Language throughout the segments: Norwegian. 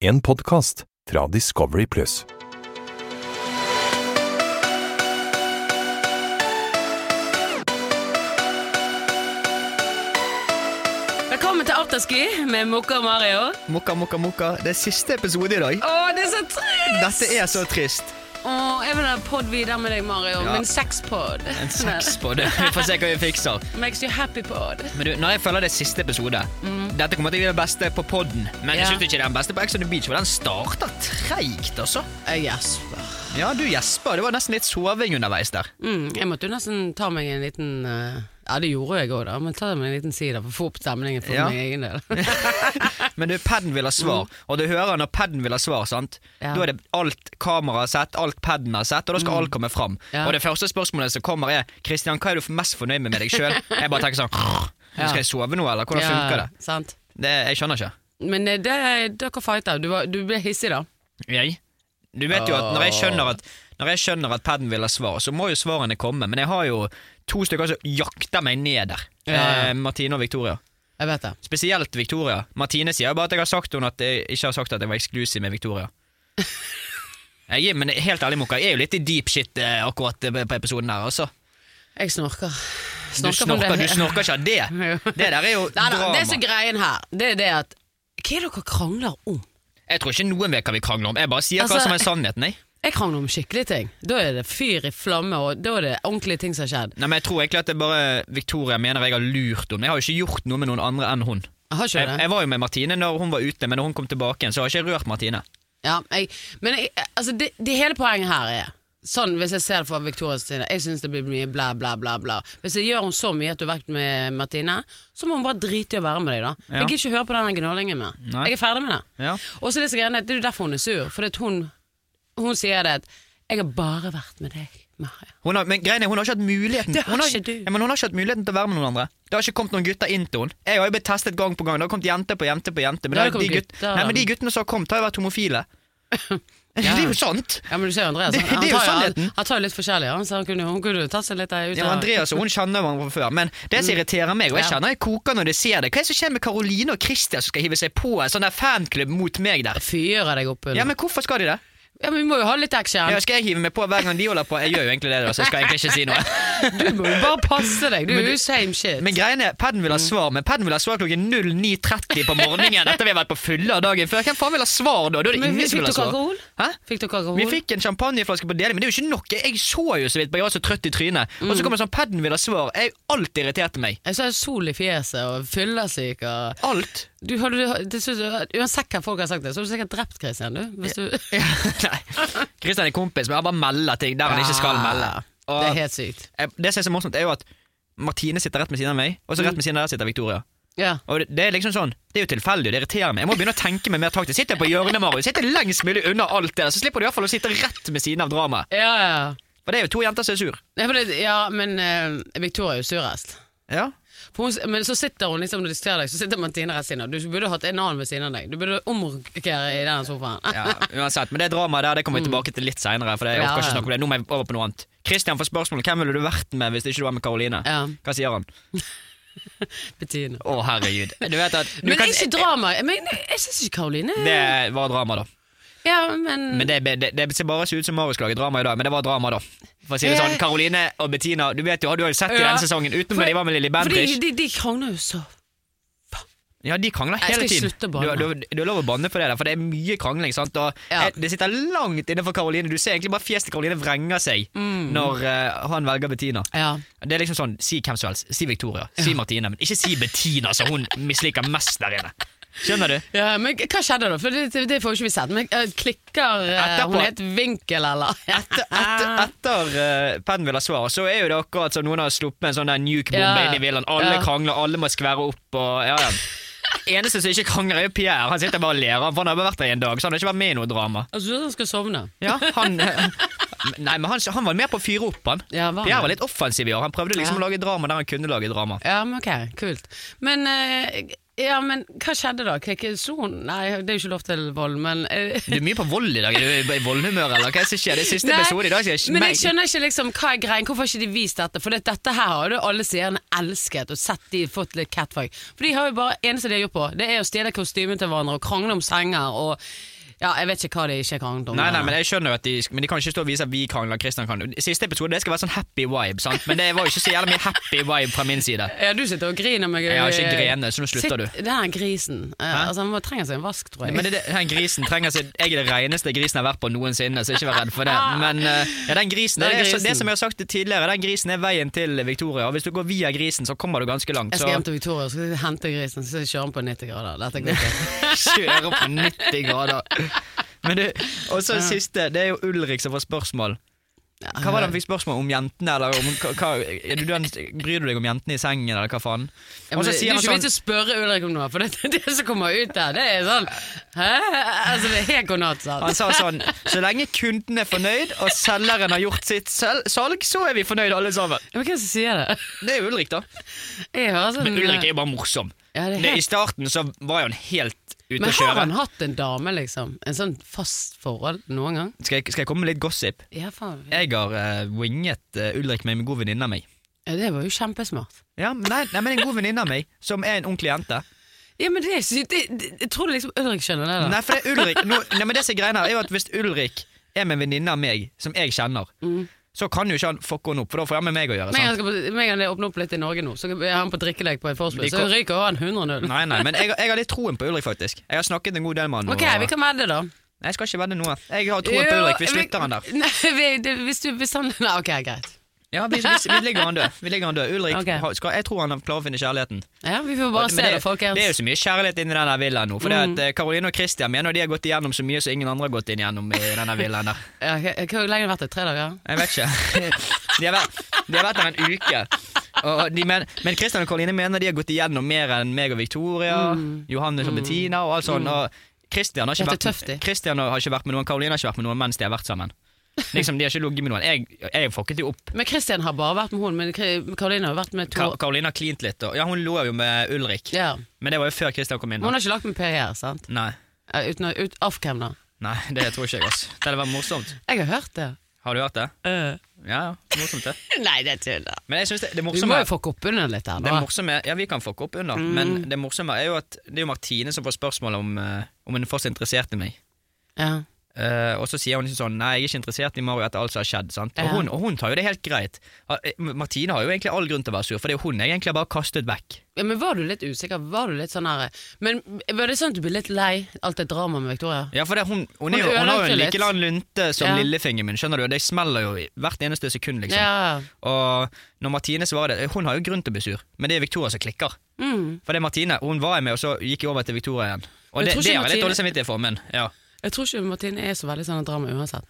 En podkast fra Discovery Pluss. Velkommen til Afterski med Mokka og Mario. Mokka, mokka, mokka. Det er siste episode i dag. Å, det er så trist! Dette er så trist. Å, jeg vil ha pod videre med deg, Mario. Ja. Min sexpod. En seks på det. Vi får se hva vi fikser. Makes you happy pod. Men du, når jeg følger det er siste episode Dette kommer til å bli det beste på podden. Men Mm. Ja. jeg syns ikke det er den beste på Ex on the Beach, for den starter treigt, altså. Jeg gjesper. Ja, du gjesper. Det var nesten litt soving underveis der. Mm, jeg måtte jo nesten ta meg en liten eh, Ja, det gjorde jeg òg, da, men ta meg en liten side for å få opp stemningen for Ja. min egen del. Men du, padden vil ha svar, og du hører når padden vil ha svar, sant? Ja. Mm. Da er det alt kameraet har sett, alt padden har sett, og da skal alt komme fram. Ja. Og det første spørsmålet som kommer er Kristian, hva er du mest fornøyd med med deg sjøl? Jeg bare tenker sånn Ja. Skal jeg sove nå, eller hvordan funker det? Sant? det? Jeg skjønner ikke. Men eh, det, dere fighta. Du, var- du ble hissig, da. Jeg? Du vet jo at når Ah. jeg skjønner at Når jeg skjønner at padden vil ha svar, så må jo svarene komme. Men jeg har jo to stykker som jakter meg ned der. Ja, ja. Eh, Martine og Victoria. Jeg vet det. Spesielt Victoria. Martine sier jo bare at jeg har sagt henne at jeg ikke har sagt at jeg var eksklusiv med Victoria. Jeg er, men helt ærlig, Mokka, jeg er jo litt i deep shit eh, akkurat eh, på episoden her, altså. Jeg snorker. Du snorker, du snorker ikke av det. Det der er jo Nei, nei, det som drama. er greien her, det er det at Hva er det dere krangler om? Jeg tror ikke noen vet hva vi krangler om. Jeg bare sier Altså- hva som er sannheten, jeg. Jeg krangler om skikkelige ting. Da er det fyr i flamme, og da er det ordentlige ting som har skjedd. Nei, men jeg tror egentlig at det er bare Victoria mener jeg har lurt henne. Jeg har jo ikke gjort noe med noen andre enn hun. Jeg har ikke Jeg, det. jeg var jo med Martine når hun var ute, men når hun kom tilbake igjen, så har jeg ikke rørt Martine. Ja, jeg, men jeg, altså det, det hele poenget her er Sånn, Hvis jeg ser det fra Victorias side, jeg syns det blir mye bla, bla, bla. bla Hvis jeg gjør henne så mye at du er vekk med Martine, så må hun bare drite i å være med deg, da. Ja. Jeg gidder ikke høre på den gnålingen mer. Nei. Jeg er ferdig med det. Ja. Og så disse greiene, det er jo derfor hun er sur. For hun, hun sier det at 'Jeg har bare vært med deg, Maria'. Hun har, men greiene, hun har ikke hatt muligheten Det har hun har, ikke ikke- du. Ja, men hun har ikke hatt muligheten til å være med noen andre. Det har ikke kommet noen gutter inn til henne. Jeg har jo blitt testet gang på gang. Det har kommet jente på jente på jente. Det Men, har det er jo de, kommet gutt, gutter. nei, men de guttene som har kommet, har jo vært homofile. Det er jo sant! Ja, men du ser jo Andreas. Det- han- det er jo han tar sannheten. Han tar jo litt forskjellig, han. Så han kunne, hun kunne jo tatt seg litt eh, der ute. Ja, men Andreas og hun kjenner hverandre fra før, men det som irriterer meg, og jeg Mm. Ja. kjenner jeg koker når de ser det, hva er det som skjer med Karoline og Christian som skal hive seg på en sånn der fanklubb mot meg der? Fyre deg opp under. Ja, men hvorfor skal de det? Ja, men vi må jo ha litt action. Ja, skal jeg hive meg på hver gang de holder på? Jeg gjør jo egentlig det, da, så jeg skal egentlig ikke si noe. Du må jo bare passe deg. Du er jo same shit. Men greien er, Padden vil ha svar, men Padden vil ha svar klokken 09.30 på morgenen. Dette har vi vært på fulle av dagen før. Hvem faen vil ha svar da? Da er det Men ingen fikk som vil ha dere svar. alkohol? Hæ? Fikk dere alkohol? Vi fikk en champagneflaske på deling, men det er jo ikke nok. Jeg så jo så vidt, bare jeg var så trøtt i trynet. Og Mm. så kommer det sånn Padden vil ha svar. Jeg alltid irriterte meg. Jeg så sol i fjeset og fyllesyk og Alt. du, hadde, du- det synes jeg- Uansett hva folk har sagt det, så har du sikkert drept Christian, du. Hvis du Nei. Kristian er kompis, men han bare melder ting der han ikke skal melde. Ja, Og Ah, Det er helt sykt. jeg- det som er så morsomt, er jo at Martine sitter rett ved siden av meg, og så rett ved siden av der sitter Victoria. Ja. Og det, det er liksom sånn, det er jo tilfeldig, og det irriterer meg. Jeg må begynne å tenke meg mer taktisk. Sitter jeg på hjørnet, Marius. Sitter lengst mulig unna alt det der, så slipper du i hvert fall å sitte rett ved siden av dramaet. Ja, ja. For det er jo to jenter som er sur. Nei, for det- ja, men eh, Victoria er jo surest. Ja. For hun, men så sitter hun liksom og diskuterer deg, så sitter Martine rett siden av. Du burde hatt en annen ved siden av deg. Du burde omrokere i den sofaen. uansett. Men det dramaet der det kommer vi tilbake til litt seinere, for det, jeg Ja, orker ikke ja. snakke om det. Nå må jeg over på noe annet. Kristian får spørsmålet hvem ville du vært med hvis ikke du var med Karoline. Ja. Hva sier han? Bettina. Å, herregud. Du vet at du Men kan- ikke drama. Men jeg syns ikke Karoline Det var drama, da. Ja, men, Men det, det, det ser bare så ut som Marius lager drama i dag, men det var drama, da. For å si det sånn, Karoline og Bettina, du vet jo, du har jo sett i Ja. denne sesongen, utenom For- da de var med Lilly Fordi Bendriss. de, de krangler jo så Ja, de krangler Jeg hele skal tiden. slutte å banne. Du, du, du er lov å banne for det, der, for det er mye krangling. sant? Og Ja. eh, Det sitter langt innenfor Karoline. Du ser egentlig bare fjeset til Karoline vrenger seg Mm. når eh, han velger Bettina. Ja. Det er liksom sånn, Si hvem som helst. Si Victoria. Si Martine. Men ikke si Bettina, som hun misliker mest der inne. Skjønner du? men hva skjedde da? For det, det får jo ikke vi sett. Men eh, klikker eh, Etterpå- hun het Vinkel, eller? Etter, etter, Ah. etter eh, Penn vil ha svar, så er jo det akkurat som noen har sluppet en sånn der nuke-bombe Ja. inn i villaen. Alle Ja. krangler, alle må skvære opp og ja, ja. Eneste som ikke krangler, er jo Pierre. Han sitter bare og ler. Han for han har bare vært der i en dag, så han har ikke vært med i noe drama. Altså, du han skal sovne? Ja, han, eh, nei, men han, han var mer på å fyre opp, han. Ja, var han Pierre var det? litt offensiv i år. Han prøvde Ja. liksom å lage drama der han kunne lage drama. Ja, men ok, kult. Men eh, Ja, men hva skjedde da? Klikket slo hun? Nei, det er jo ikke lov til vold, men eh, Du er mye på vold i dag. Er du i voldhumør, eller hva er det som skjer? Det er siste Nei, episode i dag. så jeg Men smeg- jeg skjønner ikke liksom hva er greien. Hvorfor har ikke de vist dette? For det, dette her har jo alle seerne elsket og sett de fått litt catfight. For de har jo bare eneste de har gjort på, det er å stjele kostymet til hverandre og krangle om senger og Ja, jeg vet ikke hva de ikke kranglet om. Nei, nei, men jeg skjønner jo at de, men de kan ikke stå og vise at vi krangler. Kristian kan Siste episode det skal være sånn happy vibe, sant? men det var jo ikke så jævlig mye happy vibe fra min side. ja, du sitter og griner meg Jeg har ikke grene, så nå slutter du. Sitt, den her grisen. Eh, altså, han må trenger seg en vask, tror jeg. Men det, den grisen trenger seg Jeg er det reneste grisen jeg har vært på noensinne, så ikke vær redd for det. Men eh, ja, den grisen, Ah. Den det, er, så- grisen. det som jeg har sagt tidligere, den grisen er veien til Victoria. Og hvis du går via grisen, så kommer du ganske langt. jeg skal Så hjem til Victoria og skal hente grisen, så kjører han på 90 grader. Dette går ikke. kjører på 90 grader. Men du, og så siste, det er jo Ulrik som får spørsmål. Hva var det han fikk spørsmål om jentene, eller om hva- hva, er du den, Bryr du deg om jentene i sengen, eller hva faen? Ja, men Og det, så det sier er han ikke vits sånn å spørre Ulrik om noe, for det, det som kommer ut der, det er sånn Hæ? Altså, det er helt god natt, sant? han sa sånn Så lenge kunden er fornøyd, og selgeren har gjort sitt sel salg, så er vi fornøyd alle sammen. Ja, Men hvem er det som sier det? Det er jo Ulrik, da. Jeg hører sånn Men Ulrik er jo bare morsom. Ja, det er Det, I helt- starten så var jo han helt ute å Men har kjøre. han hatt en dame, liksom? En sånn fast forhold noen gang? Skal jeg, skal jeg komme med litt gossip? Ja, faen. Jeg har eh, winget eh, Ulrik med en god venninne av meg. Ja, det var jo kjempesmart. Ja, men nei, nei, men en god venninne av meg, som er en ordentlig jente. Ja, men det er sykt. Det- det- Jeg tror det liksom Ulrik skjønner det, da. Nei, for det er Ulrik nå, Nei, men det som er greia her, er jo at hvis Ulrik er med en venninne av meg, som jeg kjenner, Mm. så kan jo ikke han fucke henne opp, for da får han med meg å gjøre. Med en gang sant? skal på- med en gang det åpner opp litt i Norge nå, så er han på drikkelek på et vorspiel, De så kom- ryker han 100-0. Nei, nei, men jeg, jeg har litt troen på Ulrik, faktisk. Jeg har snakket en god del med han. Ok, vi kan vedde, da. Nei, jeg skal ikke vedde noe. Jeg har troen på Ulrik. Vi slutter han der. Nei, vi, det, hvis du hvis han Nei, ok, greit. Ja, vi, vi, vi ligger han død. Vi ligger han død. Ulrik, Ok. har- skal, jeg tror han klarer å finne kjærligheten. Ja, vi får bare Men se det, det, folkens. Mm. det er jo så mye kjærlighet inni denne villaen nå. For det at eh, Karoline og Christian mener de har gått igjennom så mye som ingen andre har gått inn igjennom i denne villaen der. ja, ok, Hvor lenge har det vært? det? Tre dager? Jeg vet ikke. De har vært, de har vært der en uke. Og de men, men Christian og Karoline mener de har gått igjennom mer enn meg og Victoria, Johannes og Bettina og alt sånt. Og Christian har, ikke Mm. Dette vært, er tøft, de. Christian har ikke vært med noen, Karoline har ikke vært med noen mens de har vært sammen. Liksom, De har ikke ligget med noen. Jeg, jeg fucket jo opp. Men Christian har bare vært med hun, men Kri- Karoline har jo vært med to. Ka- Karoline har klint litt. Og, ja, hun lå jo med Ulrik, ja. men det var jo før Christian kom inn. Men hun Da. har ikke lagt med PR, sant? Nei, Eh, Uten, å- ut, Off-cam, da. nei, det tror ikke jeg, ass. Det hadde vært morsomt. Jeg har hørt det. Har du hørt det? Ja, ja, morsomt Eh. det. Nei, det tuller. Men jeg synes det, det Vi morsomme må jo fucke opp under litt her, Det da. morsomme, ja vi kan fucke opp under, Mm. men det morsomme er jo at det er jo Martine som får spørsmål om, eh, om hun er fortsatt interessert i meg. Ja. Eh, og så sier hun liksom sånn Nei, jeg er ikke interessert i Mario etter alt som har skjedd. Sant? Og, Ja. hun, og hun tar jo det helt greit. Ah, eh, Martine har jo egentlig all grunn til å være sur, for det er jo hun jeg egentlig har bare kastet vekk. ja, men var du litt usikker? Var du litt sånn her Men var det sånn at du ble litt lei alt det dramaet med Victoria? Ja, for det, hun, hun, er jo, Hun hun har jo ødelegger en litt. like lang lunte som Ja. lillefingeren min, skjønner du. Det smeller jo i hvert eneste sekund, liksom. Ja. Og når Martine svarer det eh, Hun har jo grunn til å bli sur, men det er Victoria som klikker. Mm. For det er Martine, hun var jeg med, og så gikk jeg over til Victoria igjen. Men Og det, tror ikke det har jeg litt Martine- dårlig samvittighet for, men ja. Jeg tror ikke Martine er så veldig sånn drama uansett.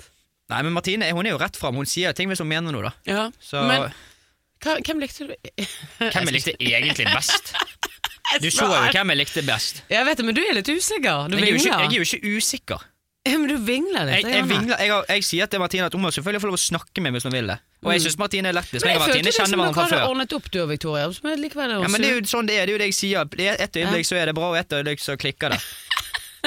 Nei, men Martine hun er jo rett fram. Hun sier ting hvis hun mener noe, da. Ja, Så Men hva, hvem likte du Hvem hvem jeg likte egentlig best? Du så jo hvem jeg likte best. Jeg vet det, men du er litt usikker. Du Jeg er jo ikke, vingler. jeg er jo ikke usikker. Ja, men du vingler litt. Jeg, jeg, Janne. vingler, jeg, har- jeg sier til Martine at hun må selvfølgelig få lov å snakke med meg hvis hun vil det. Og jeg syns Martine er lettest. Men jeg og Mm. følte Martine liksom kjenner dere hverandre fra hadde før. ordnet opp, du og Victoria. Men likevel er hun Ja, men Det er sur. jo sånn det er. Det er jo det jeg sier. Det er Et øyeblikk så er det bra, og et øyeblikk så klikker det.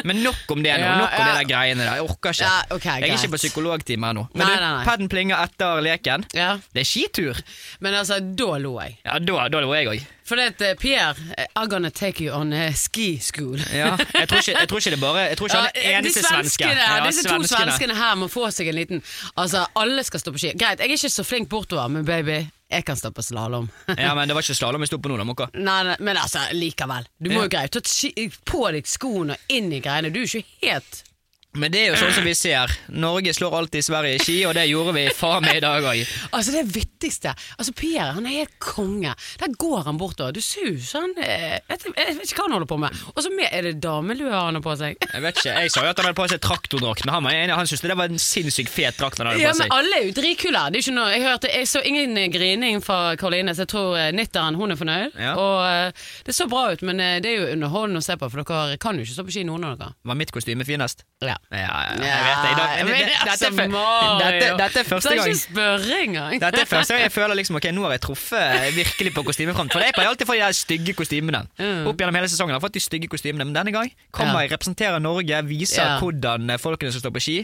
Men nok om det nå. Ja, Nok om det ja. der greiene der. Jeg orker ikke. Ja, ok, Jeg er greit. ikke på psykologtime her nå. Men Nei, du, nei, nei. padden plinger etter leken. Ja, Det er skitur. men altså, da lo jeg. Ja, da, da lo jeg òg. For det at eh, Pierre, eh, I'm gonna take you on eh, ski school. Ja, jeg tror ikke, jeg tror ikke det bare Jeg tror ikke han er Ja, de eneste svenske. svenskene, Ja, disse to svenskene her må få seg en liten Altså, alle skal stå på ski. Greit, jeg er ikke så flink bortover, men baby, jeg kan stå på slalåm. Ja, men det var ikke slalåm vi sto på nå, da, Mokka. Nei, nei, men altså, likevel. Du må jo greie å ta ski- på deg skoene og inn i greiene. Du er jo ikke helt Men det er jo sånn som vi ser. Norge slår alltid Sverige i ski, og det gjorde vi faen meg i dag òg. Altså Det vittigste Altså Pierre han er helt konge. Der går han bortover. Du sus, han eh, vet, Jeg vet ikke hva han holder på med. Og så med, er det damelue han har på seg. Jeg vet ikke, jeg sa jo at han hadde på seg traktordrakt, men han, var enig, han syntes det var en sinnssykt fet drakt han hadde Ja, på men seg. alle er jo dritkule. Det er ikke noe, jeg, hørte, jeg så ingen eh, grining fra Karoline, så jeg tror eh, nitteren hun er fornøyd. Ja. Og eh, Det så bra ut, men eh, det er jo underholdende å se på, for dere kan jo ikke stå på ski, noen av dere. Var mitt kostyme finest? Ja. Ja, ja, ja, jeg vet det. I dag- Ja, men det- det- altså, dette er fø- Mario. dette- dette er første Skal gang ikke spørre engang. Dette er første gang jeg føler liksom, ok, nå har jeg truffet virkelig på kostymefront. For jeg pleier alltid å få de der stygge kostymene. Mm. Opp gjennom hele sesongen har jeg fått de stygge kostymene, men denne gang kommer Ja. jeg, representerer Norge, viser Ja. hvordan folkene som står på ski.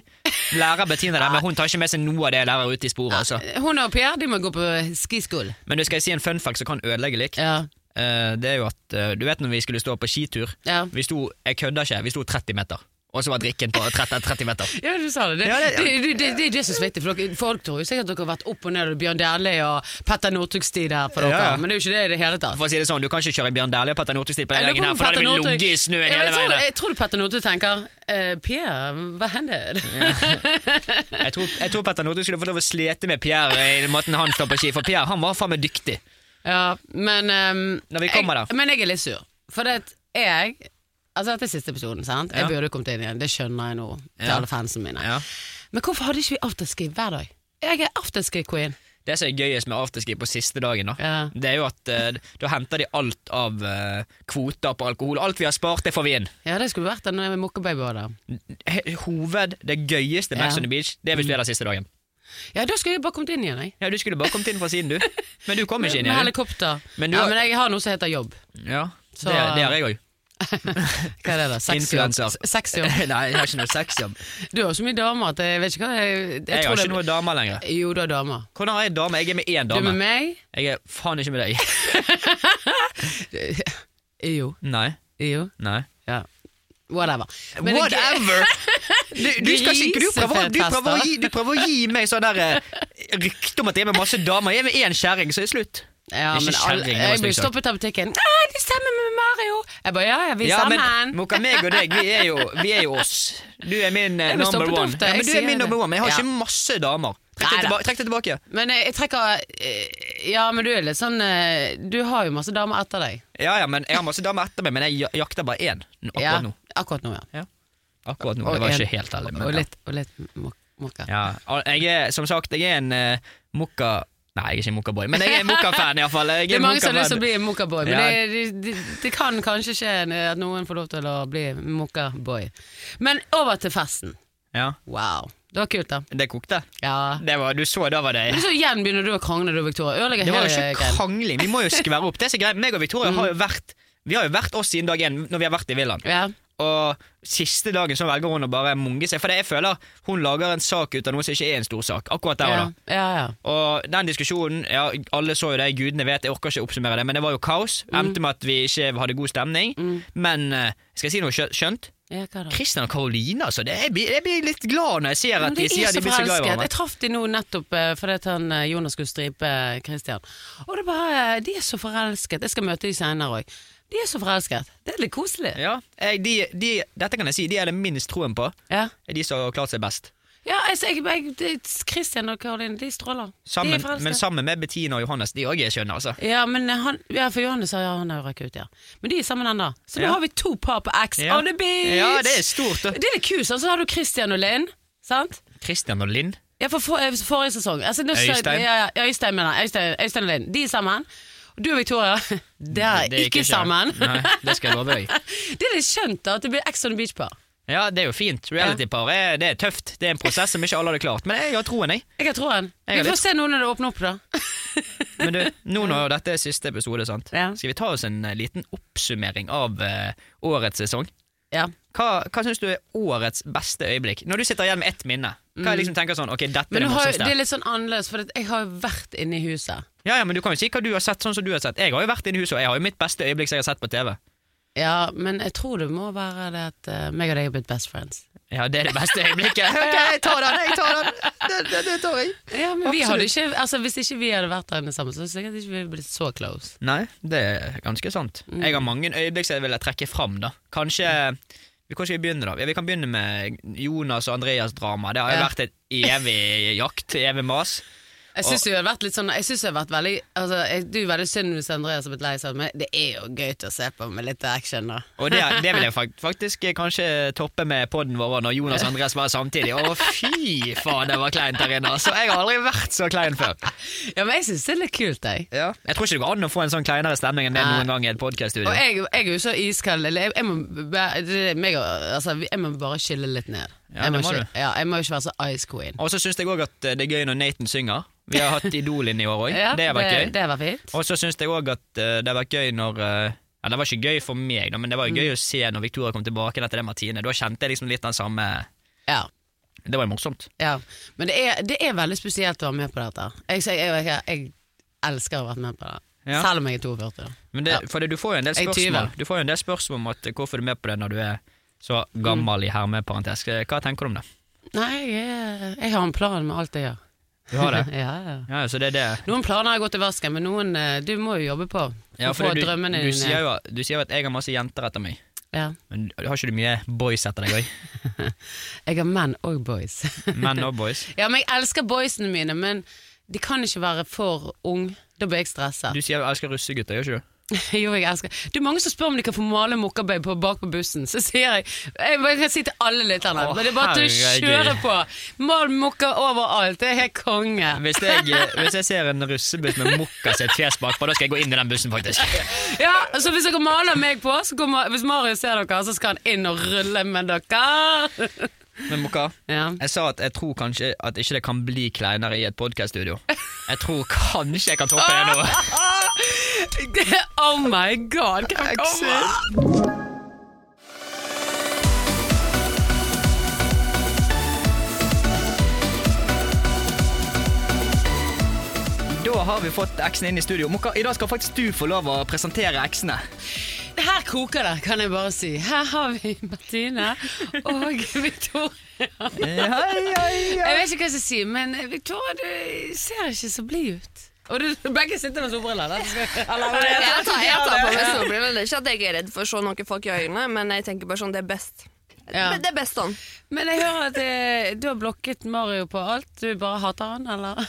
Lærer Bettina det, men hun tar ikke med seg noe av det jeg lærer ute i sporet. Altså. Hun og Pierre de må gå på skiskole. Men du skal jeg si en fun fact som kan ødelegge likt. Ja. Eh, det er jo at, eh, du vet når vi skulle stå på skitur, Ja. vi sto, jeg kødder ikke, vi sto 30 meter. Og så var drikken på 30, 30 meter. Ja, du sa det. Det, Ja, det- det, det, det, det er det som smitter. For dere, folk tror jo sikkert at dere har vært opp og ned og Bjørn Dæhlie og Petter Northug-stil her for dere, Ja, ja. men det er jo ikke det i det hele tatt. For å si det sånn, du kan ikke kjøre Bjørn Dæhlie og Petter Northug-stil på den Jeg lurer dagen her, på om for da hadde Petter vi Northug- ligget i Ja, men snøen hele jeg veien. tror- Jeg tror Petter Northug tenker eh, Pierre, hva hender? Jeg tror, jeg tror Petter Northug skulle fått lov å slete med Pierre i måten han står på ski, for Pierre han var faen meg dyktig. Ja, men ehm, Når vi kommer jeg, der. Men jeg er litt sur. For det at jeg Altså Dette er siste episoden. sant? Jeg Ja. burde kommet inn igjen. Det skjønner jeg nå. Til Ja. alle fansen mine Ja. Men hvorfor hadde ikke vi afterski hver dag? Jeg er afterski-queen. Det som er gøyest med afterski på siste dagen, da, Ja. det er jo at eh, da henter de alt av eh, kvoter på alkohol. Alt vi har spart, det får vi inn. Ja, det skulle vært den mokkebaby var der. He- Hoved, det gøyeste Max Ja. on the Beach, det er hvis du er der siste dagen. Ja, da skulle jeg bare kommet inn igjen, jeg. Ja, Du skulle bare kommet inn fra siden, du. Men du kom ikke inn Med igjen. du. helikopter. Men du ja, har- men jeg har noe som heter jobb. Ja, Så- det, det har jeg òg. Hva er det da? Sexjobb. Influencer. S- Sexjobb. Nei, jeg har ikke noe sexjobb. Du har jo så mye damer at jeg vet ikke hva Jeg, jeg, Jeg tror har det- ikke noe damer lenger. Jo, du har damer. Hvordan har jeg dame? Jeg er med én Du er dame. med meg? Jeg er faen ikke med deg. Jo. Nei. Jo. Nei. Ja. Whatever. Men det- Whatever! Du, du, skal ikke, du, prøver, du, prøver å gi, du prøver å gi meg sånn der eh, rykte om at jeg er med masse damer. Jeg er med én kjerring, så er det slutt. Ja, Ikke men alle, kjerring, det jeg var blir stygt sagt. stoppet av butikken. «Ah, De stemmer med Mario! Jeg bare ja, ja, vi er Ja, men sammen. Moka, meg og deg, vi er jo, vi er jo oss. Du er min eh, Jeg blir number stoppet one. ofte, Ja, jeg men du sier er min det. number one, men jeg har Ja. ikke masse damer. Trekk det, Neida. tilba trekk det tilbake. Men eh, jeg trekker eh, Ja, men du er litt sånn eh, Du har jo masse damer etter deg. Ja, ja, men Jeg har masse damer etter meg, men jeg ja- jakter bare én n- akkurat Ja, nå. Akkurat nå, ja. Akkurat nå, Og Det var en- ikke helt ærlig. Men, Og ja. litt, og litt mok- mokka. Ja, og jeg er, som sagt, jeg er en uh, mokka... Nei, jeg er ikke en mokkaboy, men jeg er en mokka-fan iallfall. Det er mange som har lyst til å bli mokkaboy, men Ja. det, det, det, det kan kanskje skje at noen får lov til å bli mokkaboy. Men over til festen. Ja, Wow. Det var kult, da. det kokte. Ja. Det var, du så, da var det Men så igjen begynner du å krangle, du, Victoria. Ødelegger Det var jo hele ikke greien. krangling. Vi må jo skvære opp. Det som er greit, meg og Victoria har jo Mm. vært Vi har jo vært oss siden dag én når vi har vært i villaen. Ja. Og siste dagen så velger hun å bare munge seg. For det jeg føler hun lager en sak ut av noe som ikke er en stor sak. Akkurat der og Ja, da. ja, ja. Og den diskusjonen ja, Alle så jo det, gudene vet, jeg orker ikke oppsummere det, men det var jo kaos. Mm. Endte med at vi ikke hadde god stemning. Men eh, skal jeg si noe skjø- skjønt? ja hva da? Christian og Karoline, altså. Det, jeg, blir, jeg blir litt glad når jeg ser Men at de de sier er de så blir så glad i forelsket. hverandre. Jeg traff de nå nettopp eh, fordi at han, eh, Jonas skulle stripe eh, Christian. Og det er bare, eh, De er så forelsket. Jeg skal møte de senere òg. De er så forelsket. Det er litt koselig. Ja, jeg, de, de, dette kan jeg si, de er det minst troen på. Ja, Er de som har klart seg best. ja altså, jeg, jeg, det- Christian og Karoline, de stråler. de Sammen, er forelsket. men sammen med Bettina og Johannes, de òg er skjønne, altså. ja, men eh, han, ja, for Johannes har ja, han har jo røkket ut, ja. Men de er sammen ennå. Så nå Ja. har vi to par på X Ja. on the beach! Ja, det er stort, da. Det er litt kult. Og så har du Christian og Linn. Sant? Christian og Linn. Ja, for, for eh, forrige sesong. Altså, nå, så- Øystein? Ja, ja, ja, Øystein mener jeg. Øystein, Øystein og Linn. De er sammen. Og du og Victoria, det er Det ikke, gikk sammen. Nei, det skal jeg love deg. Det er litt skjønt da, at det blir Ex on the Beach-par. Ja, det er jo fint. Reality-par er, det er tøft. Det er en prosess som ikke alle hadde klart. Men jeg har troen, jeg. Jeg har troen. Jeg Vi har får litt- se nå når det åpner opp, da. Men du, nå når dette er siste episode, sant? Ja. skal vi ta oss en eh, liten oppsummering av eh, årets sesong? Ja. Hva, hva syns du er årets beste øyeblikk? Når du sitter igjen med ett minne, hva jeg liksom tenker sånn Ok, dette Mm. Men er nå det har, jo- morsomste. det er litt sånn annerledes, for at jeg har jo vært inne i huset. Ja, ja, men du kan jo si hva du har sett, sånn som du har sett. Jeg har jo vært inne i huset, og jeg har jo mitt beste øyeblikk som jeg har sett på TV. Ja, men jeg tror det må være det at eh, meg og deg er blitt best friends. Ja, det er det beste øyeblikket. Ok, jeg tar den, jeg tar den. Det, det, det tar jeg. Ja, men vi Absolutt. hadde ikke, altså Hvis ikke vi hadde vært der inne sammen, så hadde sikkert ikke vi blitt så close. Nei, det er ganske sant. Jeg har mange øyeblikk som jeg ville trekke fram, da. Kanskje vi kan ikke begynne da. Ja, Vi kan begynne med Jonas og Andreas drama. Det har jo Ja. vært et evig jakt, evig mas. Jeg syns det har vært litt sånn Jeg synes det har vært veldig altså, jeg, Det er jo veldig synd hvis Andreas har blitt lei seg, men det er jo gøy til å se på med litt action, da. Og det, det vil jeg fak- faktisk eh, kanskje toppe med podden vår når Jonas og Andreas var samtidig. Å, fy faen, det var kleint der inne. Altså, jeg har aldri vært så klein før. Ja, men jeg syns det er litt kult, jeg. Jeg tror ikke det går an å få en sånn kleinere stemning enn det Nei. noen gang i et podkaststudio. Og jeg, jeg er jo så iskald eller jeg, jeg, må, bæ- det er meg, og- altså, jeg må bare chille litt ned. Ja, jeg, må det må ikke, ja, jeg må ikke være så ice queen. Og så syns jeg òg at eh, det er gøy når Nathan synger. Vi har hatt Idol inne i år òg. Ja, det har vært gøy. det, det var fint. Og så syns jeg òg at eh, det har vært gøy når eh, Ja, det var ikke gøy for meg, da, men det var jo Mm. gøy å se når Victoria kom tilbake igjen etter det Martine. Da kjente jeg liksom litt den samme Ja, Det var jo morsomt. ja. Men det er, det er veldig spesielt å være med på dette. Jeg, jeg, jeg, jeg, jeg elsker å være med på det. Ja. Selv om jeg er 42. da. Men det, Ja. for det, du får jo en del Jeg er spørsmål tyve. Du får jo en del spørsmål om at eh, hvorfor er du med på det når du er så Mm. gammel i hermeparentes. Eh, Hva tenker du om det? Nei, jeg, er- jeg har en plan med alt jeg gjør. Du har det? ja, ja. Ja, så det er det. Noen planer har gått i vasken, men noen eh, du må jo jobbe på. for Ja, å for få du, drømmene du, dine. sier jo, du sier jo at jeg har masse jenter etter meg, ja. men har ikke du mye boys etter deg òg? Jeg har menn og boys. Menn og boys? Ja, men jeg elsker boysene mine, men de kan ikke være for ung. Da blir jeg stressa. Du sier du elsker russegutter, gjør ikke du? jo, jeg elsker Det er mange som spør om de kan få male mokkababe på, bak på bussen. Så sier jeg Jeg bare kan si til alle lytterne, Å, men det er bare til å herregud. kjøre på. Mal mokka overalt. Det er helt konge. Hvis jeg, eh, hvis jeg ser en russebuss med mokka sitt fjes bakpå, da skal jeg gå inn i den bussen, faktisk. Ja, så hvis dere maler meg på, så kommer, hvis Marius ser dere, så skal han inn og rulle med dere. Men mokka, ja. jeg sa at jeg tror kanskje at ikke det kan bli kleinere i et podkaststudio. Jeg tror kanskje jeg kan toppe det nå. Ah! Oh my god, hva kommer? Da har vi fått eksene inn i studio. Mokka, i dag skal faktisk du få lov å presentere eksene. Her koker det, kan jeg bare si. Her har vi Martine og Victoria. Jeg vet ikke hva jeg skal si, men Victoria, du ser ikke så blid ut. Og du, begge sitter med solbriller. da. Jeg tar, jeg tar på meg solbriller. Det er ikke at jeg er redd for å se noen folk i øynene, men jeg tenker bare sånn, det er best. Ja. Det er best sånn. Men jeg hører at eh, du har blokket Mario på alt. Du bare hater han, eller?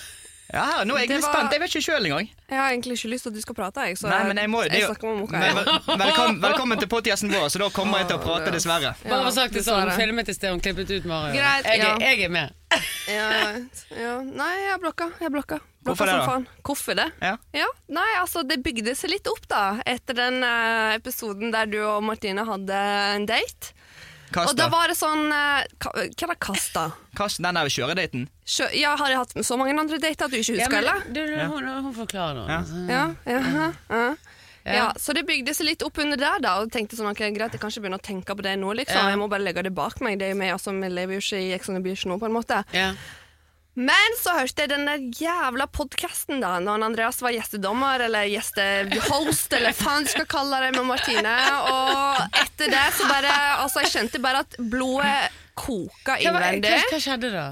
Ja, her, nå er jeg Det litt var- spent. Jeg vet ikke sjøl engang. Jeg har egentlig ikke lyst til at du skal prate, jeg, så Nei, men jeg må det er jo- snakker med Moka. Men jeg. vel- velkommen, velkommen til podcasten vår, så da kommer jeg til å prate, dessverre. Ja, Bare for sagt det sånn, dessverre. filmet i sted, hun klippet ut Mario. Greit, jeg, ja. er- jeg er med. Ja, ja. Nei, jeg blokka. Jeg blokka. blokka Hvorfor det som da? faen. Hvorfor det? Ja. Ja, nei, altså Det bygde seg litt opp da etter den eh, episoden der du og Martine hadde en date. Og da Kasta. var det sånn eh, ka- Hva er det kasta? Kast den der kjøredaten. Sjø, ja, har jeg hatt så mange andre dater at du ikke Ja, husker, men, eller? du, du, hun, hun forklarer noe. Ja. Ja, ja, ja. Mm. Ja. Ja, så det bygde seg litt opp under der, da. Og tenkte sånn, ok, greit, jeg kan ikke begynne å tenke på det nå, liksom. Ja. Jeg må bare legge det bak meg. Det er jo meg, altså, vi lever jo ikke i Ex on the Beach nå, på en måte. Ja. Men så hørte jeg den der jævla podkasten, da, når Andreas var gjestedommer, eller gjestehost, eller faen du skal kalle det, med Martine. Og etter det så bare Altså, jeg kjente bare at blodet Hva, koka hva, innvendig. hva skjedde da?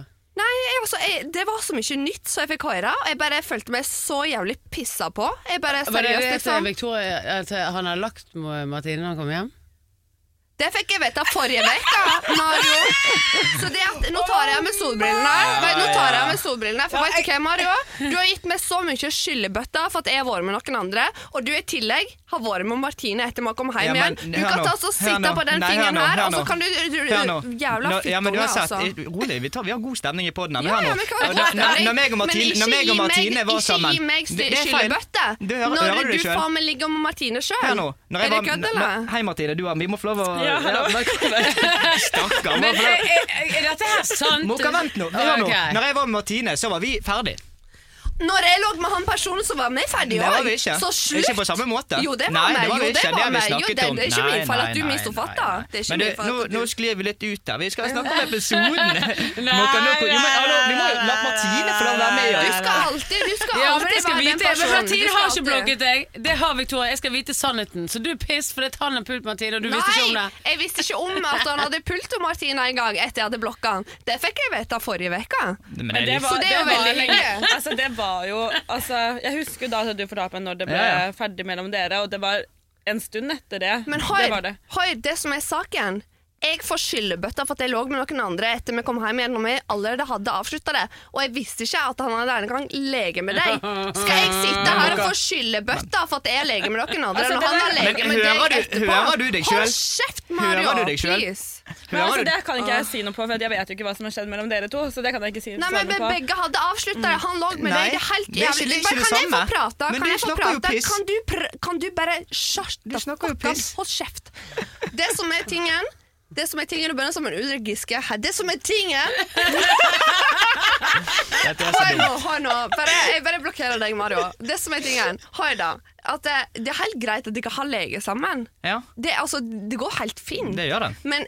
Nei, jeg, altså, jeg, Det var så mye nytt som jeg fikk høre, og jeg bare følte meg så jævlig pissa på. Jeg bare, Var det seriøst, det til liksom. Victoria at han har lagt med Martine når han kom hjem? Det fikk jeg vite forrige uke, Mario. Så det at, nå tar jeg av meg solbrillene. Vet, nå tar jeg av meg solbrillene For vet du hva, Mario? Du har gitt meg så mye skyllebøtter for at jeg har vært med noen andre, og du i tillegg har vært med Martine etter vi kom Ja, hjem men, igjen. Du hør kan nå. ta og Hør sitte nå. på den Nei, hør tingen nå, her, hør og så nå. kan du, du, du Hør nå. Jævla Nå- ja, men fittunge, uansett, altså. i- Rolig, vi, tar, vi har god stemning i poden. Ja, ja, men hva er når, det? når, når meg og Martine, Men når meg og Martine var sammen Ikke gi meg Det- det er feil. skyllebøtte Du hører- hører når du du det selv? faen meg ligger med Martine sjøl. Hør nå. Når jeg Er det var- kødd, når- eller? Hei, Martine. Du, har- vi må få lov å Ja, hallo. men- Stakkar. vi må Men få lov- er, er, er dette her sant? Mokka, vent nå. Hør nå. Ok. Når jeg var med Martine, så var vi ferdig. Når jeg lå med han personen som var med ferdig Det òg, var vi ikke. så slutt! Ikke på samme måte. Jo, det Nei, var meg. Det var Jo, vi det ikke. var har vi meg. Jo, snakket det- om. det er ikke min Nei, feil at du nei, nei, misforfatta. nei, nei. Det er ikke Men min du, feil at nå, du- nå sklir vi litt ut her. Vi skal snakke om episoden. Mokka, nå, jo, men, hallo, vi må jo la Martine få lov å være med. Du Ja. skal alltid, du skal Ja, men alltid jeg skal være vite den personen. men Martine Du har skal ikke alltid- blokket deg. Det har Victoria. Jeg skal vite sannheten. Så du er piss fordi han har pult Martine, og du visste ikke om Nei, det. jeg visste ikke om at han hadde pult om Martina en gang etter jeg hadde blokka han. Det fikk jeg vite forrige uke. Men det er litt- Så det er jo var veldig hyggelig. Altså, det var jo altså, Jeg husker jo da at du fortalte meg når det ble Ja, ja. ferdig mellom dere, og det var en stund etter det. Men det hør, var det. hør det som er saken. Jeg får skyllebøtta for at jeg lå med noen andre etter vi kom hjem igjen, når vi allerede hadde avslutta det. Og jeg visste ikke at han hadde engang lege med deg. Skal jeg sitte her og få skyllebøtta for at jeg er lege med noen andre, Altså, det når han der- har lege Men med hører deg du- etterpå? hører du deg selv? Hold kjeft, Mario! Hører du deg selv? Please. Men altså, Hører du? det kan ikke jeg si noe på, for jeg vet jo ikke hva som har skjedd mellom dere to. Så det kan jeg ikke si Nei, svare men på. Begge hadde avslutta det. Han lå Mm. Nei, med deg. Det er helt det er ikke- jævlig. det er ikke det Bare, kan jeg få samme. prate? Men Kan du jeg få snakker jo prate? piss. Kan du, pr kan du bare shut Du the snakker jo fuck up? piss. Hold kjeft. Det som er tingen det som er tingen, Du begynner som en Ulrik Giske. Det som er tingen Dette er så Hør nå, dumt. hør nå. Bare, jeg bare blokkerer deg, Mario. Det som er tingen, hør da. At det, det er helt greit at dere har lege sammen. Ja, Det, er altså, det går helt fint. det gjør det. Men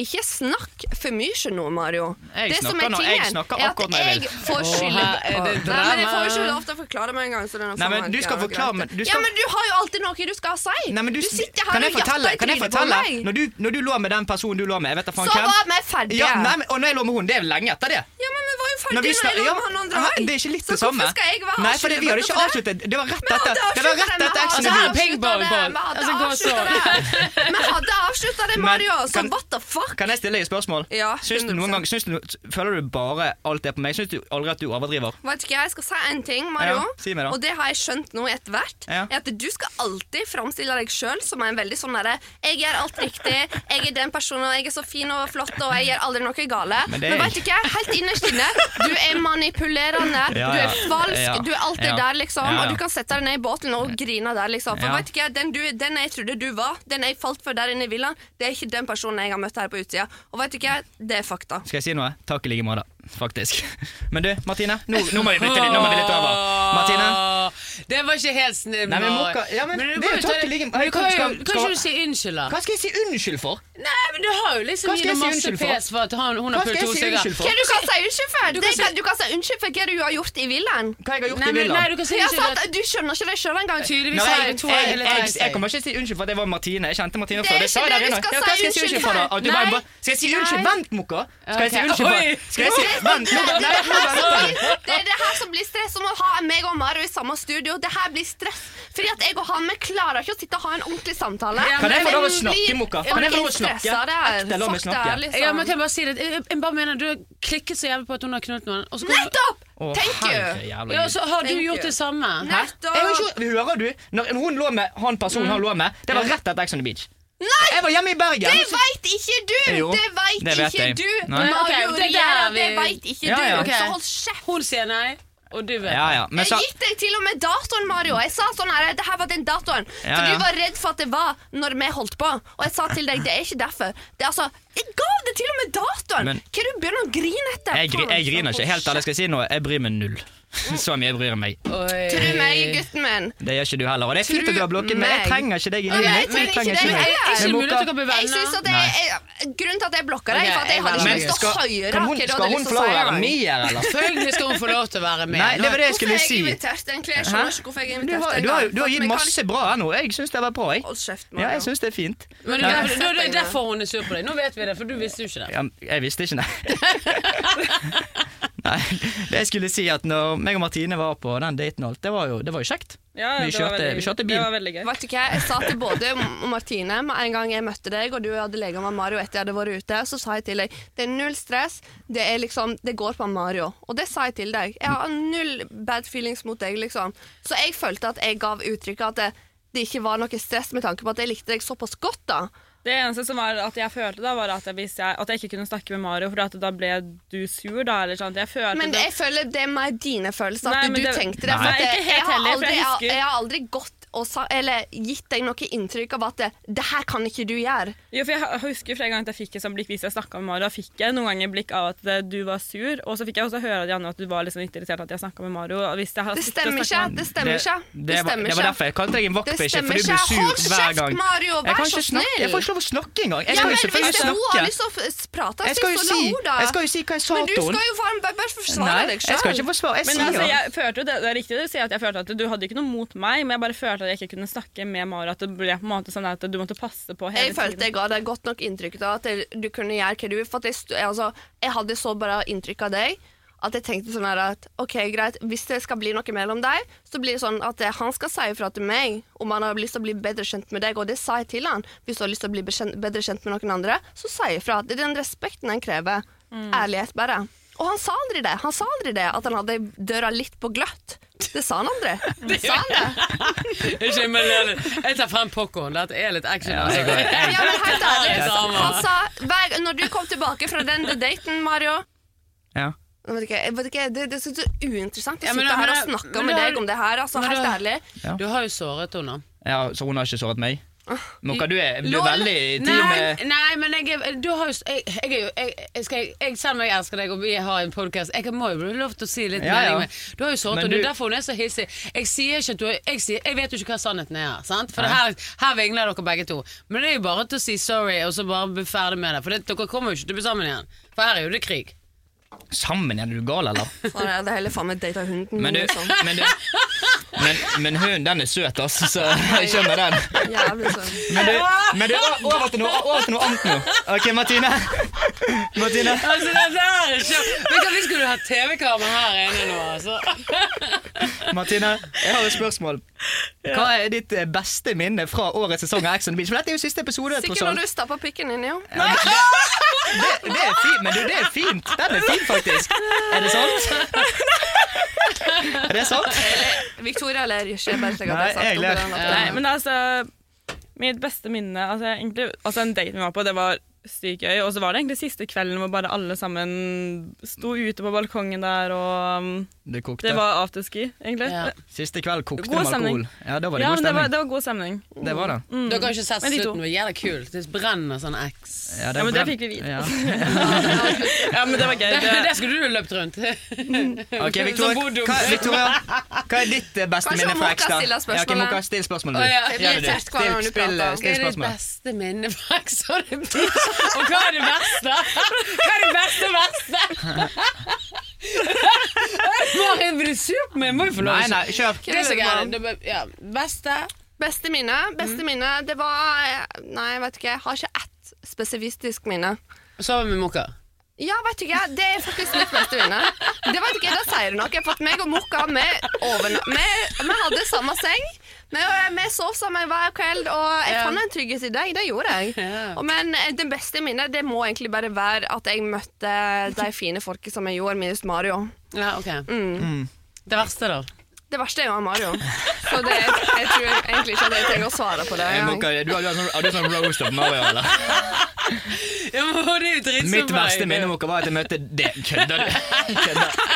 ikke snakk for mye nå, Mario. Jeg det som snakker er nå. tingen, Jeg snakker er akkurat at når jeg vil. jeg får Åh, skylde her er det Nei, men Jeg drama. får jo ikke lov til å forklare med en gang. Så det er noe sånn Nei, men faen du skal greit. forklare, men du skal- Ja, men du har jo alltid noe du skal si! Nei, men du, sitter her kan jeg og jatter fortelle, i kan jeg trynet på fortelle meg. når, du, når du lå med den personen du lå med, jeg vet da faen Så hvem var vi ferdige. ja, nei, men, Og når jeg lå med henne, det er jo lenge etter det. Ja, men vi var jo Når vi ferdige snak- når jeg ja, lå med han andre nei, også. det er ikke litt Så det samme. hvorfor skal jeg være Nei, for det, vi hadde ikke skyldbøtte for det? avsluttet. Det var rett Vi hadde etter Det var rett etter avsluttet Ex on the det, vi Beach. hadde Pingpong, avsluttet det, pong. Vi Altså, hadde gå og avsluttet det, Vi hadde avsluttet det, Men Mario, så kan- what the fuck? Kan jeg stille deg et spørsmål? Ja, Syns du noen gang, syns du, Føler du bare alt det på meg? Syns du aldri at du overdriver? Vet ikke, Jeg skal si en ting, Mario, Ja, si meg da. og det har jeg skjønt nå etter hvert. Ja. Er at Du skal alltid framstille deg sjøl som en veldig sånn derre Jeg gjør alt riktig, jeg er den personen, og jeg er så fin og flott, og jeg gjør aldri noe gale. Men Men, det er- vet du ikke, helt innerst inne, du er manipulerende, Ja, du ja. er falsk, Ja. du er alltid Ja. der, liksom, Ja, ja. og du kan sette deg ned i båten og grine der, liksom. For Ja. vet du ikke, den, du, den jeg trodde du var, den jeg falt for der inne i villaen, det er ikke den personen jeg har møtt her på utsida. Og vet du ikke, det er fakta. Skal jeg si noe? Takk i like måte, faktisk. Men du, Martine. Nå, nå må vi bytte litt, nå må vi litt over. Martine. Det var ikke helt snill. Nei, men Mari. Mokka- ja, men du det kan er jo ta- takk i like- men du kan jo- Skal- Kan skal- ikke du si unnskyld, da? Hva skal jeg si unnskyld for? Nei, men du har jo Hva liksom skal gitt jeg si masse unnskyld for? pes for at han, hun har Hva skal pult jeg to si sigarer. unnskyld for? Hva du kan si unnskyld for? Du Du kan kan, si- du kan si unnskyld for hva du har gjort i villaen. Hva jeg har gjort Nei, i men, nei, villaen? du kan si Ja, unnskyld. sant, du skjønner ikke det sjøl engang. Tydeligvis Nei, har jeg, jeg to jeg, jeg, eller tre jeg, jeg steg. kommer ikke til å si unnskyld for at jeg var Martine. Jeg kjente Martine Det er før. ikke sa jeg det der du inne. skal Ja, hva si jeg si unnskyld unnskyld for? da? for? At du var en Nei. ba- Skal jeg si unnskyld? Nei. Vent, Mokka! Skal jeg si Ok. unnskyld Oi. for Skal jeg si Vent! nå- Det er Nei, nå det her venter som jeg. blir- det er det her som blir stress, om å ha meg og Mario i samme studio. Det her blir stress. Fordi at jeg og han vi klarer ikke å sitte og ha en ordentlig samtale. Ja, Kan jeg få lov å Men snakke, blir Mokka? Kan jeg få lov å fucking snakke? stressa der. Ekte, la meg Fuck snakke. det her, liksom. Ja, men kan jeg bare si det? Jeg, jeg bare mener, Du har klikket så jævlig på at hun har knullet noen. Og så, kommer- Nettopp! Å, Thank herre you. jævla ja, Gud. så har du Thank gjort you. det samme. Hæ? Jeg har Nettopp. ikke, hører du? Når hun lå med han personen han lå med, det var rett etter Ex on the Beach. Nei! Jeg var hjemme i Bergen. Det veit ikke du! Jo, det veit det vet ikke jeg. du, Nei. Mario Ok, det der Riera. er vi- Det veit ikke Ja, du. ja. Ok. Så hold kjeft. Hun sier nei, og du vet Ja, ja. Men Jeg så, gitt deg til og med datoen, Mario. Jeg sa sånn her, det her var den datoen. Ja, For ja. du var redd for at det var når vi holdt på. Og jeg sa til deg, det er ikke derfor. Det er altså, Jeg ga det til og med datoen! Men- Hva er det du begynner å grine etter? jeg, gri, jeg griner ikke. Helt ærlig ærlig. skal jeg si noe. Jeg bryr meg null. Så mye jeg bryr meg. Oi. Tro meg, gutten min. Det gjør ikke du heller. Og det er fint Tro at du har blokken, men jeg meg. trenger ikke deg inni Nei, jeg mitt liv. Jeg trenger trenger ikke ikke deg Det deg. heller. er Men ikke mulig at dere Moka, blir Jeg synes venner. at jeg, jeg, grunnen til at jeg blokka deg, Ok, er for at jeg jeg hadde ikke velger. men lyst til skal, å høre kan hva hun, du skal hadde hun få lyst til å lov å si. være engang. med, eller? Selvfølgelig skal hun få lov til å være med. Nei, det var det jeg Hvorfor skulle er jeg si. invitert, egentlig? Jeg Hæ? skjønner ikke hvorfor jeg er Du invitert. har, engang. du har, du For har at gitt vi kan masse bra her nå. Jeg syns det var bra. ikke- Jeg, Hold kjeft, ja, Mario. jeg syns det er fint. Men du, Ja. det er derfor hun er sur på deg. Nå vet vi det, for du visste jo ikke det. Ja, jeg visste ikke, nei. nei. Det jeg skulle si, at når meg og Martine var på den daten og alt, det var jo, det var jo kjekt. Ja, Vi det var kjørte- veldig- vi kjørte bil. Det var veldig gøy. Vet du hva, Jeg sa til både M- Martine med en gang jeg møtte deg, og du hadde lega med Mario etter jeg hadde vært ute, så sa jeg til deg det er null stress, det, er liksom, det går på Mario. Og det sa jeg til deg. Jeg har null bad feelings mot deg, liksom. Så jeg følte at jeg gav uttrykket at det, det ikke var noe stress med tanke på at jeg likte deg såpass godt, da. Det eneste som var at jeg følte da, var at jeg, hvis jeg, at jeg ikke kunne snakke med Mario, for at da ble du sur, da, eller sånn. Jeg følte Men det, jeg føler det er mer dine følelser, Nei, at men du det- tenkte det. Nei. For at Nei, jeg, ikke helt jeg, har heller, for aldri, jeg husker- jeg, jeg har aldri gått og sa, eller gitt deg noe inntrykk av at det, det her kan ikke du gjøre. Jo, for Jeg husker flere ganger at jeg fikk et sånt blikk hvis jeg snakka med Mario. Da fikk jeg noen ganger blikk av at eh, du var sur, og så fikk jeg også høre av de andre at du var liksom litt irritert at jeg snakka med Mario. og Hvis jeg har Det sluttet å stemmer ikke. snakke med han- Det stemmer ikke. Det, det, var, det var derfor jeg kalte deg en Det vaktbikkje, stemmer for du ikke. blir Hold sur hver kjeft, gang. Mario, jeg vær kan så ikke snakke, snill. jeg får ikke lov å snakke engang. Jeg Ja, skal men jo hvis det selvfølgelig er noe snakke. har lyst til å f- prate, Jeg så skal jo la si, henne, da. jeg skal jo si hva jeg sa Men du til skal henne. jo faen bare bare forsvare Nei, deg jeg skal ikke sjøl. forsvare. Jeg Men sier altså, det. jeg følte jo det, det er riktig det du sier at jeg følte at du hadde ikke noe mot meg, men jeg bare følte at jeg ikke kunne snakke med Mario. At det ble på en måte sånn at du måtte passe på hele Jeg følte jeg tiden. ga deg godt nok inntrykk av at jeg- du kunne gjøre hva du ville. For at jeg, stu- altså, jeg hadde så bra inntrykk av deg At jeg tenkte sånn her at ok, greit, hvis det skal bli noe mellom deg, så blir det sånn at eh, han skal si ifra til meg om han har lyst til å bli bedre kjent med deg, og det sa jeg til han. Hvis du har lyst til å bli bekjent, bedre kjent med noen andre, så si ifra. Det er den respekten han krever. Mm. Ærlighet, bare. Og han sa aldri det. Han sa aldri det, at han hadde døra litt på gløtt. Det sa han aldri. Sa han det? Ikke, men jeg, jeg tar frem popkorn. Dette er litt action. Ja, altså. jeg går- jeg- Ja, men helt ærlig. Ja, damer. Han sa hver, Når du kom tilbake fra den daten, Mario Ja. jeg vet ikke, jeg vet ikke, det, det er så så uinteressant å Ja, men sitte da- her men og da- snakke men med da- deg om det her. Altså, men helt da- ærlig. Du har jo såret henne. ja, Så hun har ikke såret meg? Noka, du er, du Lol. er veldig eh? i tid Nei, med nei, men jeg, er- du har jo s- jeg, jeg er jo jeg, jeg skal, jeg, Selv om jeg elsker deg og vi har en podkast, jeg må jo bli lov til å si litt Ja, ja. mening. men Du har jo såret, Men og det er du- derfor hun er så hissig. Jeg sier ikke at du er jeg, sier, jeg vet jo ikke hva sannheten er her, sant? For det her, her vingler dere begge to. Men det er jo bare til å si sorry og så bare bli ferdig med det. For det, dere kommer jo ikke til å bli sammen igjen. For her er jo det krig. Sammen igjen, er du gal, eller? Sånn, jeg hadde heller faen meg data hunden Men, min. du, Sånn. men, du, men, men hunden, den er søt, altså, så jeg skjønner den. Jævlig sånn. Men du, men du o- over, til noe, over til noe annet nå. OK, Martine. Martine. Altså, det der er ikke Vet du, Vi skulle hatt TV-kamera her inne nå, altså. Martine, jeg har et spørsmål. Hva er ditt eh, beste minne fra årets sesong av Ex on the Beach? For dette er jo siste episode. tross sånn- Sikkert alt. når du stappa pikken inn, jo. Ja, men det, det, det er fint, men du, det er fint. Den er fin, faktisk. Er det sant? Er det sant? Victoria ler ikke. Bare slik at Nei, jeg satt jeg opp ler. i den natten. Nei, men altså Mitt beste minne altså, egentlig, altså En date vi var på, det var sykt gøy. Og så var det egentlig siste kvelden hvor bare alle sammen sto ute på balkongen der, og um, Det kokte. det var afterski, egentlig. Ja. Siste kveld kokte God med alkohol. stemning. Ja, da var det Ja, god men det var, stemning. det var god stemning. Det var det. Dere har ikke sett Men de to. slutten, det er jævlig kult. Det brenner sånn X. Ja, Ja, men det brenn- fikk vi vite. Ja. Ja, men det var gøy. Eh, Det, Det, det skulle du løpt rundt. Ok, Som Victoria, Bodum. hva, Victoria, hva er ditt eh, beste Kanskje minne fra Moka Ekstad? stiller Ja, spørsmålet. ok, Moka, still spørsmålet Å, du. ja. Gjør Jeg blir det du. tett hver gang du Still- prater. Hva still er ditt spørsmål. beste minne fra Ex on the Beach? Og hva er det verste? Hva er det beste verste? Marin, blir du sur på meg? Jeg Må jo få lov Nei, å nei, kjør. Det er så gærent. Mm. Det er- Ja, beste Beste minne? Beste minne, det var eh, Nei, jeg vet ikke. Jeg har ikke ett spesifistisk minne. Sove med Mokka. Ja, vet du ikke, det er faktisk mitt beste minne. Det vet ikke, da sier du noe. For at meg og Mokka, vi, overna- vi, vi hadde samme seng. Vi, vi sov sammen hver kveld, og jeg Ja. fant en trygghet i deg. Det gjorde jeg. Ja. Og, men eh, det beste minnet, det må egentlig bare være at jeg møtte de fine folka som jeg gjorde, minus Mario. Ja, ok. Mm. Det verste, da? Det verste er jo han Mario. Så det, jeg tror egentlig ikke at jeg trenger å svare på det. Eh, Moka, du har, du har, sånn, har du sånn roast of Mario, eller? Ja, men det er jo dritsomt. Mitt verste minne Moka, var at jeg møtte det. Kødder du? Kødder.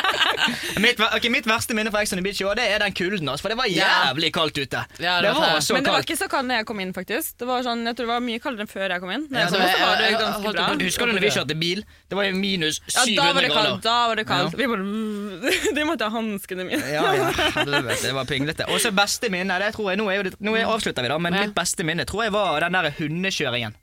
Mitt, ver- ok, mitt verste minne fra Ex on the Beach i år, det er den kulden. Altså, for det var jævlig kaldt ute. Ja, det det var var det. så men det var kaldt. ikke så kaldt da jeg kom inn, faktisk. Det var sånn, jeg tror det var mye kaldere enn før jeg kom inn. Når Ja, jeg så kom inn, så var det jeg- jeg- ganske holdt bra. på- Husker du når vi kjørte bil? Det var jo minus Ja, da 700 var det kaldt. grader. Da var det kaldt. Vi bare De måtte ha hanskene mine. Ja, ja, helvete, det var pinglete. Og så beste minne, det tror jeg, nå, er jo det, nå er- avslutter vi da, men Ja. mitt beste minne tror jeg var den der hundekjøringen.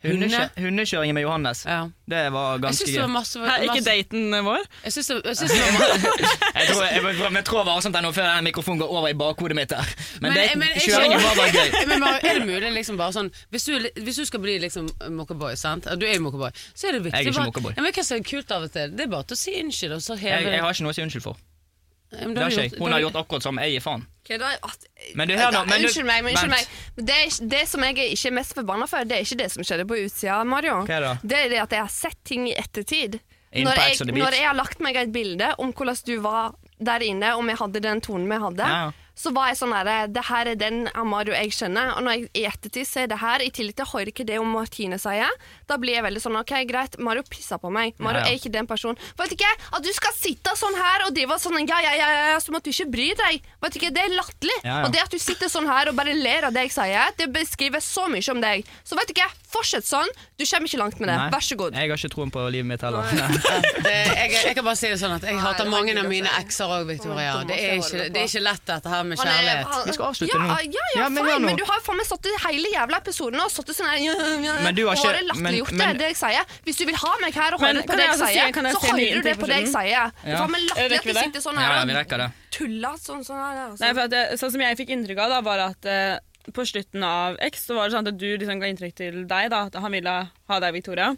Hundekjø Hunde? hundekjøringen med Johannes. Ja. Det var Jeg syns ganske det var gøy. masse, Hæ, ikke masse daten vår? Jeg syns det, jeg syns det var masse Jeg tror, jeg, jeg, jeg tror varsomt her nå før den mikrofonen går over i bakhodet mitt her. Men, det- men- kjøringen var bare gøy. Men Mario, er det mulig liksom bare sånn Hvis du, hvis du skal bli liksom mokkaboy, sant? Du er jo mokkaboy. Så er det viktig Jeg er ikke bare- mokkaboy. Ja, men hva som er kult av og til, det er bare til å si unnskyld, og så Jeg, heve jeg har ikke noe å si unnskyld for. Ja, men Det da har ikke jeg. gjort- da Hun har gjort akkurat som jeg gir faen. Ok, da, at, Men du, hør nå, Da, men du- unnskyld meg, men vent. unnskyld meg. Det, er ikke- det som jeg er ikke er mest forbanna for, det er ikke det som skjedde på utsida, Mario. Hva da? Det er det at jeg har sett ting i ettertid. Inn Når på Ex on jeg, the Beach. når jeg har lagt meg et bilde om hvordan du var der inne, om jeg hadde den tonen vi hadde, Ja. så var jeg sånn herre Det her er den av Mario jeg kjenner. Og når jeg i ettertid ser det her, i tillegg til jeg hører ikke det om Martine sier, da blir jeg veldig sånn OK, greit, Mario pissa på meg. Mario Ja, ja. er ikke den personen. Vet ikke at du skal sitte sånn her og drive sånn ja, ja, ja, ja, som at du ikke bryr deg. Vet ikke, Det er latterlig. Ja, ja. Og det at du sitter sånn her og bare ler av det jeg sier, det beskriver så mye om deg. Så vet ikke, fortsett sånn. Du kommer ikke langt med det. Nei, Vær så god. Jeg har ikke troen på livet mitt heller. Nei. det, jeg, jeg kan bare si det sånn at jeg Nei, hater det var mange ikke av det mine å si. ekser òg, Victoria. Å, Thomas, Det er, jeg ikke, holder på. det er ikke lett dette her med Han er- kjærlighet. han- Vi skal avslutte ja, nå. Ja, ja, Ja, men hør faen, nå. men du har faen meg stått i hele jævla episoden og stått i sånn her ja, ja, ja, Men du har ikke- og latterliggjort men- det, men- det jeg sier. Hvis du vil ha meg her og Men høre på kan det jeg jeg også si- sier, kan jeg så si min hører du det på det jeg ting for sier. Det Ja. er faen meg latterlig Rekker vi at du det? sitter sånn her Ja, vi og rekker det. tuller sånn sånn her. altså. Nei, for at det, sånn som jeg fikk inntrykk av, da, var at eh, på slutten av X så var det sånn at du liksom ga inntrykk til deg da, at han ville ha deg, Victoria.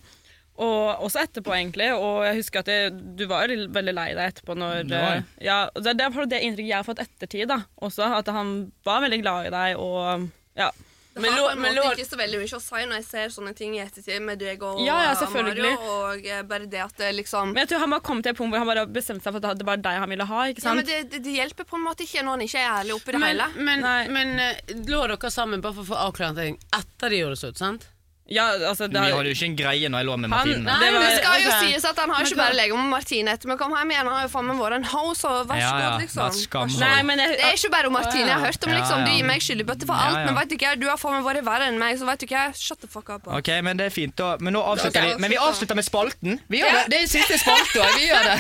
Og også etterpå, egentlig. Og jeg husker at jeg, du var jo litt- veldig lei deg etterpå. Når, Nei. eh, ja, og det, det er det inntrykket jeg har fått ettertid da, også. At han var veldig glad i deg og ja. Det Men har lå- på en men måte lå- ikke så veldig mye å si når jeg ser sånne ting i ettertid med deg og Ja, ja, eh, selvfølgelig. Mario. Og eh, bare det at det liksom Men jeg tror han bare kom til et punkt hvor han bare bestemte seg for at det var deg han ville ha. ja, ikke sant? men det, det, det hjelper på en måte ikke når han ikke er ærlig oppi det Men, hele. men, Nei. men eh, lå dere sammen bare for å få avklart en ting etter de gjorde det slutt, sant? Ja, altså, det Vi har- hadde jo ikke en greie når jeg lå med Han- Martine. Nei. Det, Det var- skal jo ok. sies at han har jo ikke bare lege med Martine etter vi kom hjem igjen. Han har jo faen meg vært en ho, så vær så Ja, ja. god, Vær liksom. så skam. Vær så- Nei, men jeg, Det er ikke bare om Martine jeg har hørt om, Ja, liksom. Du ja. gir meg skyldbøtte for Ja, alt, ja. men vet du hva, du har faen meg vært verre enn meg, så vet du hva, shut the fuck up. Ok, men det er fint da Men nå avslutter Ok. vi Men vi avslutter med spalten Vi gjør det Det er siste spalte og Vi gjør det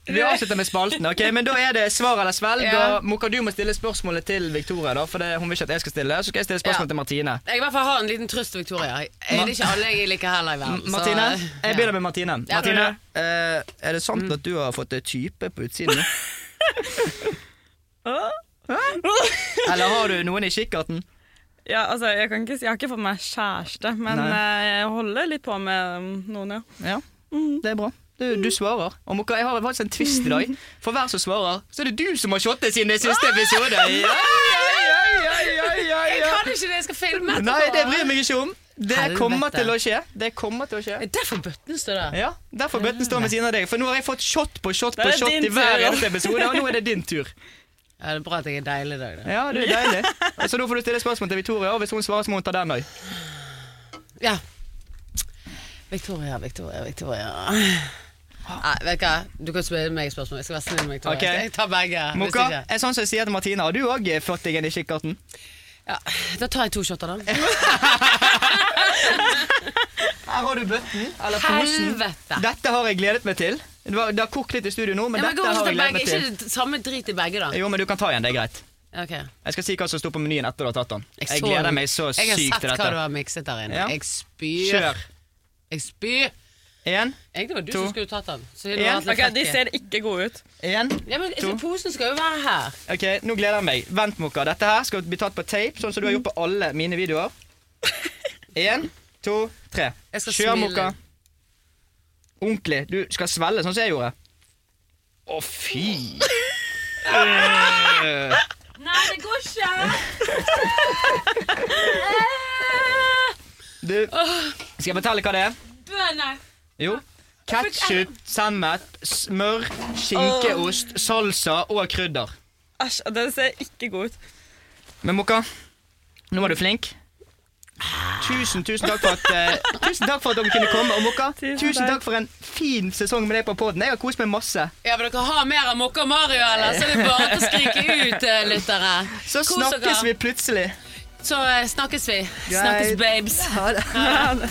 Vi avslutter med spalten Ok, men da er det svar eller svelg Ja. Og Moka, du må stille spørsmålet til Victoria da For det, hun vil ikke at jeg skal stille Så skal jeg stille spørsmål Ja. til Martine Jeg i hvert fall har en liten trøst, Victoria. Jeg- Det er ikke alle jeg liker heller i verden. så- Martine, jeg begynner med Martine Ja. Martine, eh, er det sant at du har fått en type på utsiden? nå? Eller har du noen i kikkerten? ja, altså, jeg, kan ikke, si- jeg har ikke fått meg kjæreste, men eh, jeg holder litt på med um, noen, ja. Ja, Mm. det er bra. Du, du svarer. Og Moka, jeg har faktisk en twist i dag. For hver som svarer, så er det du som har shottet siden det siste episode. Ai, ai, ai, ai, ai, ai, Ah! Jeg ai. kan ikke det, jeg skal filme etterpå. Nei, det bryr jeg meg ikke om. Det Helvete. kommer til å skje. Det kommer til å skje. Er derfor bøtten står der? Ja, Derfor bøtten står ved siden av deg. For nå har jeg fått shot på shot Da på er det shot din i hver tur. eneste episode, og nå er det din tur. Ja, det er bra at jeg er deilig i dag, da. Ja, det er deilig. Så da får du stille spørsmål til Victoria, og hvis hun svarer, så må hun ta den òg. Ja. Victoria, Victoria, Victoria. Ah. Nei, vet du hva? Du kan spørre meg spørsmål. Jeg skal være snill med Victoria. Ok. Jeg tar begge. hvis Moka, ikke- en sånn som jeg sier til Martina, har du òg fått deg en i kikkerten? Ja, da tar jeg to shotter, da. Her har du bøtten, eller posen. Helvete! Dette har jeg gledet meg til. Det, var, det har kokt litt i studio nå, men, Ja, men gå dette og har ta jeg gledet begge. meg til. Ikke det samme drit i begge, da. Jo, men du kan ta igjen, det er greit. Ok. Jeg, Jeg skal si hva som står på menyen etter du har tatt den. Jeg, så- gleder meg så Jeg sykt har til sett hva du dette. har mikset der inne. Ja. Jeg spyr. Kjør. Jeg spyr. Én, Egentlig var det du To. som skulle tatt den. siden du En. har hatt litt Ok, De fett i. ser ikke gode ut. én. Ja, men To. Posen skal jo være her. Ok, nå gleder jeg meg. Vent, Mokka. Dette her skal bli tatt på tape, sånn som du har gjort på alle mine videoer. Én, to, tre. Jeg skal Kjør, smile. Mokka. Ordentlig. Du skal svelle, sånn som jeg gjorde. Å, fy. Nei, det går ikke! Du, skal jeg fortelle hva det er? Bønner. Jo. Ketchup, sennep, smør, skinkeost, salsa og krydder. Æsj, det ser ikke god ut. Men Mokka, nå var du flink. Tusen, tusen takk for at eh, Tusen takk for at dere kunne komme. Og Mokka, Tusen tusen takk. takk for en fin sesong med deg på poden. Jeg har kost meg masse. Ja, men dere har mer av Mokka og Mario, eller? Så er det bare til å skrike ut, eh, lyttere. Så Kos dere. snakkes vi plutselig. Så eh, snakkes vi. Snakkes, Greit. babes. Ha det.